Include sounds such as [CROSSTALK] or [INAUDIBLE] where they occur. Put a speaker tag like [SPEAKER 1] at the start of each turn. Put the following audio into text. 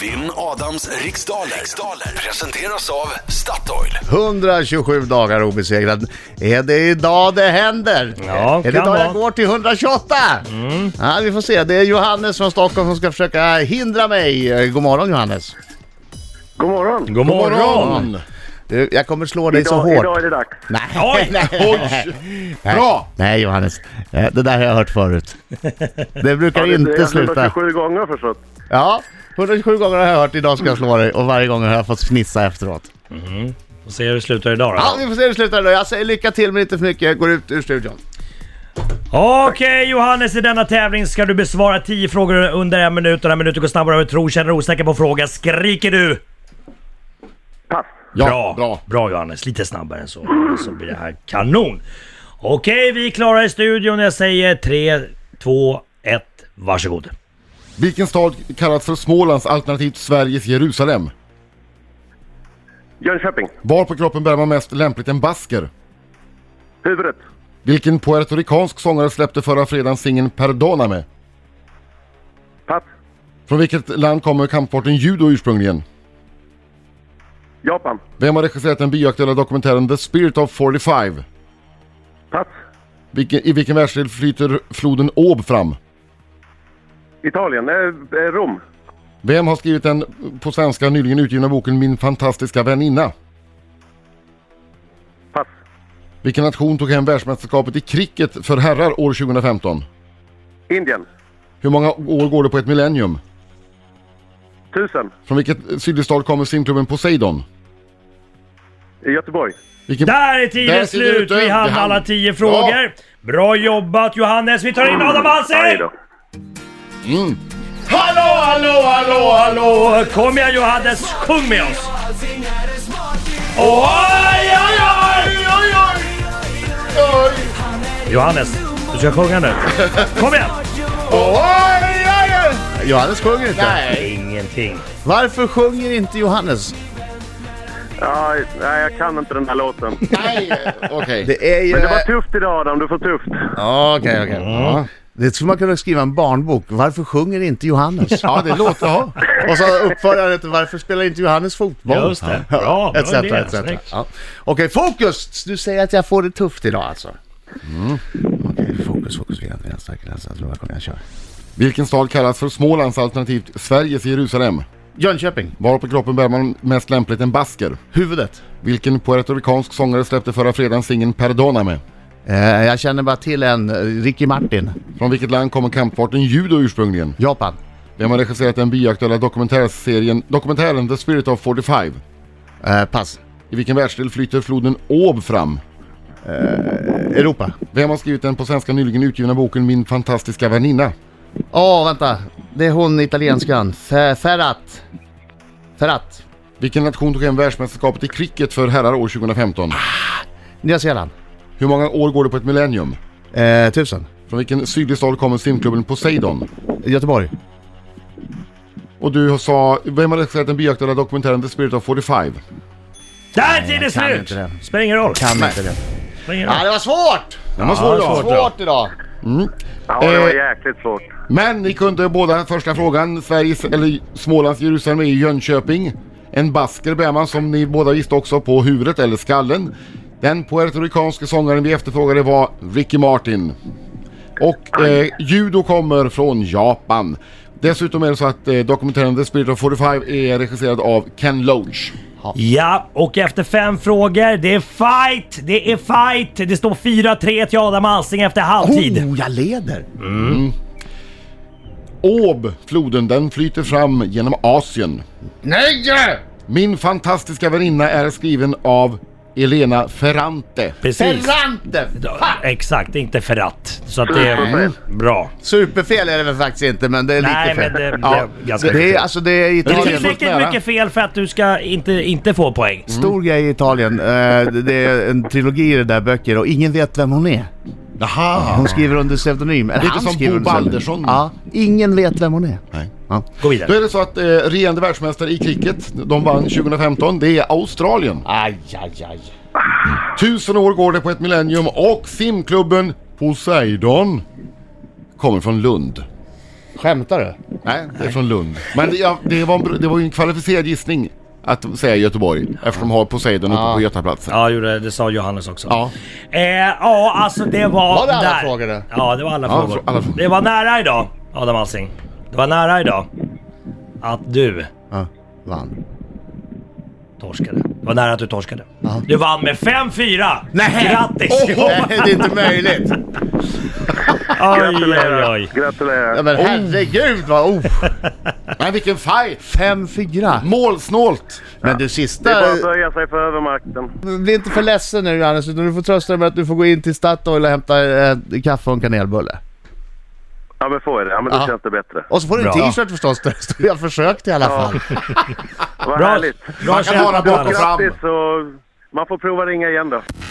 [SPEAKER 1] Vinn Adams riksdaler. riksdaler presenteras av Statoil.
[SPEAKER 2] 127 dagar obesegrad. Är det idag det händer?
[SPEAKER 3] Ja,
[SPEAKER 2] är det
[SPEAKER 3] kan
[SPEAKER 2] idag jag
[SPEAKER 3] vara. Mm.
[SPEAKER 2] går till 128? Ja, vi får se. Det är Johannes från Stockholm som ska försöka hindra mig. Eh, God morgon Johannes.
[SPEAKER 4] God morgon!
[SPEAKER 3] God morgon!
[SPEAKER 2] Du, jag kommer slå dig så
[SPEAKER 4] idag,
[SPEAKER 2] hårt.
[SPEAKER 4] idag är det dags.
[SPEAKER 2] [LAUGHS] Nej,
[SPEAKER 3] Oj!
[SPEAKER 2] nej.
[SPEAKER 5] Bra!
[SPEAKER 2] Nej Johannes, Eh, det där har jag hört förut. Det brukar inte sluta.
[SPEAKER 4] 127 gånger har jag förstått.
[SPEAKER 2] Ja, 127 gånger har jag hört idag ska jag slå dig och varje gång har jag fått fnissa efteråt.
[SPEAKER 3] Får se hur det slutar idag
[SPEAKER 2] Ja,
[SPEAKER 3] då.
[SPEAKER 2] vi får se hur det slutar då. Jag säger lycka till men inte för mycket. Jag går ut ur studion.
[SPEAKER 3] Okej Johannes, i denna tävling ska du besvara 10 frågor under en minut och den minuten går snabbare över tro. Känner du osäker på fråga skriker du.
[SPEAKER 4] Pass.
[SPEAKER 5] Ja,
[SPEAKER 3] bra.
[SPEAKER 5] bra.
[SPEAKER 3] Johannes, lite snabbare än så. Så blir det här kanon. Okej, vi är klara i studion. Jag säger 3, 2, 1, varsågod.
[SPEAKER 5] Vilken stad kallas för Smålands alternativt Sveriges Jerusalem?
[SPEAKER 4] Jönköping.
[SPEAKER 5] Var på kroppen bär man mest lämpligt en basker?
[SPEAKER 4] Huvudet.
[SPEAKER 5] Vilken puertorikansk sångare släppte förra fredagen singeln Perdóname?
[SPEAKER 4] Pass.
[SPEAKER 5] Från vilket land kommer kampsporten judo ursprungligen?
[SPEAKER 4] Japan.
[SPEAKER 5] Vem har regisserat den bioaktuella dokumentären The Spirit of 45?
[SPEAKER 4] Pass.
[SPEAKER 5] Vilken, I vilken världsdel flyter floden Ob fram?
[SPEAKER 4] Italien. Eh, eh, Rom.
[SPEAKER 5] Vem har skrivit den på svenska nyligen utgivna boken Min fantastiska väninna?
[SPEAKER 4] Pass.
[SPEAKER 5] Vilken nation tog hem världsmästerskapet i cricket för herrar år 2015?
[SPEAKER 4] Indien.
[SPEAKER 5] Hur många år går det på ett millennium?
[SPEAKER 4] Tusen.
[SPEAKER 5] Från vilket sydligstad kommer simklubben Poseidon?
[SPEAKER 4] I Göteborg.
[SPEAKER 5] Vilken...
[SPEAKER 3] Där är
[SPEAKER 5] Där
[SPEAKER 3] tiden
[SPEAKER 5] ser det
[SPEAKER 3] slut.
[SPEAKER 5] ut, vi
[SPEAKER 3] Vi hann
[SPEAKER 5] hann.
[SPEAKER 3] alla 10 frågor. Bra jobbat Johannes. Vi tar in Adam
[SPEAKER 4] Aj
[SPEAKER 3] Alsing!
[SPEAKER 4] då.
[SPEAKER 5] Mm.
[SPEAKER 3] Hallå, hallå, hallå, hallå! Kom igen Johannes, sjung med oss! Oj, oj, oj, oj, oj. Johannes, du ska sjunga nu. Kom igen!
[SPEAKER 2] Johannes sjunger inte.
[SPEAKER 3] Ingenting.
[SPEAKER 2] Varför sjunger inte Johannes?
[SPEAKER 4] Ja, nej, jag kan inte den här låten.
[SPEAKER 5] Nej, okej.
[SPEAKER 2] Det är ju...
[SPEAKER 4] Men det var typ- tufft idag Adam. Du får tufft.
[SPEAKER 2] Ja, Okej, okej. Ja. Det skulle man kunna skriva en barnbok. Varför sjunger inte Johannes?
[SPEAKER 5] Ja, det låter... Ja.
[SPEAKER 2] Och så uppföraren heter Varför spelar inte Johannes fotboll?
[SPEAKER 3] Just det. Bra, bra
[SPEAKER 2] etc,
[SPEAKER 3] idé.
[SPEAKER 2] etc.
[SPEAKER 3] Snyggt.
[SPEAKER 2] Ja. Okej, fokus! Du säger att jag får det tufft idag alltså. Okej, fokus, fokus. Viljan, viljan, stark vilja, stark vilja. Jag kör.
[SPEAKER 5] Vilken stad kallas för Smålands alternativt Sveriges Jerusalem?
[SPEAKER 2] Jönköping,
[SPEAKER 5] Var på kroppen bär man mest lämpligt en basker?
[SPEAKER 2] huvudet.
[SPEAKER 5] Vilken puertorikansk sångare släppte förra fredagen singeln Perdóname?
[SPEAKER 2] Eh, jag känner bara till en, eh, Ricky Martin,
[SPEAKER 5] Från vilket land kommer kampsporten judo ursprungligen?
[SPEAKER 2] Japan.
[SPEAKER 5] Vem har regisserat den bioaktuella dokumentärserien dokumentären The Spirit of 45?
[SPEAKER 2] Eh, pass.
[SPEAKER 5] I vilken världsdel flyter floden Ob fram?
[SPEAKER 2] Europa.
[SPEAKER 5] Vem har skrivit den på svenska nyligen utgivna boken Min fantastiska väninna?
[SPEAKER 2] Åh, vänta. Det är hon italienskan. Fe- Ferrat. Ferrat.
[SPEAKER 5] Vilken nation tog hem världsmästerskapet i cricket för herrar år 2015?
[SPEAKER 2] Nya Zeeland.
[SPEAKER 5] Hur många år går det på ett millennium?
[SPEAKER 2] Eh, tusen.
[SPEAKER 5] Från vilken sydlig stad kommer simklubben Poseidon?
[SPEAKER 2] Göteborg.
[SPEAKER 5] Och du sa, vem har regisserat den bioaktuella dokumentären The Spirit of 45?
[SPEAKER 3] Där är
[SPEAKER 2] kan
[SPEAKER 3] tiden slut!
[SPEAKER 2] inte det.
[SPEAKER 3] Spelar ingen roll.
[SPEAKER 2] Kan inte det.
[SPEAKER 3] Spelar ingen
[SPEAKER 2] Ja,
[SPEAKER 3] roll.
[SPEAKER 2] det var svårt!
[SPEAKER 5] Den var svår
[SPEAKER 3] det var
[SPEAKER 5] idag.
[SPEAKER 3] svårt.
[SPEAKER 2] Svårt idag.
[SPEAKER 4] Ja, det var
[SPEAKER 5] Eh.
[SPEAKER 4] jäkligt svårt.
[SPEAKER 5] Men ni kunde båda första frågan. Sveriges, eller Smålands Jerusalem är ju Jönköping. En basker bär man som ni båda visste också på huvudet eller skallen. Den puertorikanske sångaren vi efterfrågade var Ricky Martin. Och eh, judo kommer från Japan. Dessutom är det så att eh, dokumentären The Spirit of 45 är regisserad av Ken Loach.
[SPEAKER 3] Ja, och efter fem frågor, det är fight! Det är fight! Det står 4-3 till Adam Alsing efter halvtid.
[SPEAKER 2] Oh, jag leder!
[SPEAKER 5] Ob, floden, den flyter fram genom Asien.
[SPEAKER 2] Nej!
[SPEAKER 5] Min fantastiska väninna är skriven av Elena Ferrante.
[SPEAKER 3] Precis.
[SPEAKER 2] Ferrante!
[SPEAKER 3] Ja, Exakt, inte Ferrat. Så att det är bra.
[SPEAKER 2] Superfel är det väl faktiskt inte, men det är
[SPEAKER 3] Nej,
[SPEAKER 2] lite fel.
[SPEAKER 3] men det- det är
[SPEAKER 2] ja.
[SPEAKER 3] ganska
[SPEAKER 2] det, det är,
[SPEAKER 3] fel.
[SPEAKER 2] alltså, det är
[SPEAKER 3] Det är
[SPEAKER 2] Italien.
[SPEAKER 3] tillräckligt mycket fel för att du ska inte, inte få poäng.
[SPEAKER 5] Mm.
[SPEAKER 2] Stor grej i Italien. Eh, det- det är en trilogi i det där böcker och ingen vet vem hon är.
[SPEAKER 5] Jaha!
[SPEAKER 2] Hon skriver under pseudonym. Eller
[SPEAKER 5] Lite
[SPEAKER 2] han
[SPEAKER 5] som
[SPEAKER 2] skriver
[SPEAKER 5] Bo
[SPEAKER 2] under pseudonym.
[SPEAKER 5] Baldersson.
[SPEAKER 2] Ja, ingen vet vem hon är.
[SPEAKER 5] Nej.
[SPEAKER 2] Ja.
[SPEAKER 3] Gå
[SPEAKER 5] Då
[SPEAKER 3] vidare.
[SPEAKER 5] är det så att eh, regerande världsmästare i cricket, de vann 2015, det är Australien.
[SPEAKER 2] Aj, aj, aj.
[SPEAKER 5] Tusen år går det på ett millennium och simklubben Poseidon kommer från Lund.
[SPEAKER 2] Skämtar du?
[SPEAKER 5] Nej, det är från Lund. Men det, ja, det, var, en, br- det var ju en kvalificerad gissning att säga Göteborg eftersom de har Poseidon uppe på Götaplatsen.
[SPEAKER 3] Ja, gjorde det. Det sa Johannes också.
[SPEAKER 5] Ja.
[SPEAKER 3] Eh, ja, alltså det var...
[SPEAKER 2] Var det alla
[SPEAKER 3] där.
[SPEAKER 2] frågor det?
[SPEAKER 3] Ja, det var alla
[SPEAKER 5] Ja,
[SPEAKER 3] frågor.
[SPEAKER 5] alla frågor.
[SPEAKER 3] Det var nära idag, Adam Alsing. Det var nära idag att du
[SPEAKER 2] Ja. Vann.
[SPEAKER 3] torskade. Det var nära att du torskade. Du vann med 5-4! Grattis!
[SPEAKER 2] Åh, nej, det är inte möjligt!
[SPEAKER 3] Oj, oj,
[SPEAKER 4] Gratulerar.
[SPEAKER 3] oj.
[SPEAKER 2] Ja,
[SPEAKER 4] Gratulerar.
[SPEAKER 2] men herregud vad... Oh,
[SPEAKER 5] Men vilken fight!
[SPEAKER 2] fem, fyra.
[SPEAKER 5] Målsnålt!
[SPEAKER 2] Men du
[SPEAKER 4] Det är
[SPEAKER 2] sista...
[SPEAKER 4] bara att böja sig för övermakten.
[SPEAKER 2] Bli inte för ledsen nu Johannes, utan du får trösta dig med att du får gå in till Statoil och hämta eh, kaffe och en kanelbulle.
[SPEAKER 4] Ja, men får jag det? Ja, men då
[SPEAKER 2] Ja.
[SPEAKER 4] känns det bättre.
[SPEAKER 2] Och så får du en
[SPEAKER 3] Bra.
[SPEAKER 2] t-shirt förstås, [LAUGHS] där det står jag försökt i alla fall.
[SPEAKER 4] Vad
[SPEAKER 3] Bra,
[SPEAKER 4] härligt.
[SPEAKER 3] bra
[SPEAKER 5] Man kan vara
[SPEAKER 3] kämpat
[SPEAKER 5] bra.
[SPEAKER 3] Johannes.
[SPEAKER 5] fram.
[SPEAKER 4] Grattis och man får prova ringa igen då.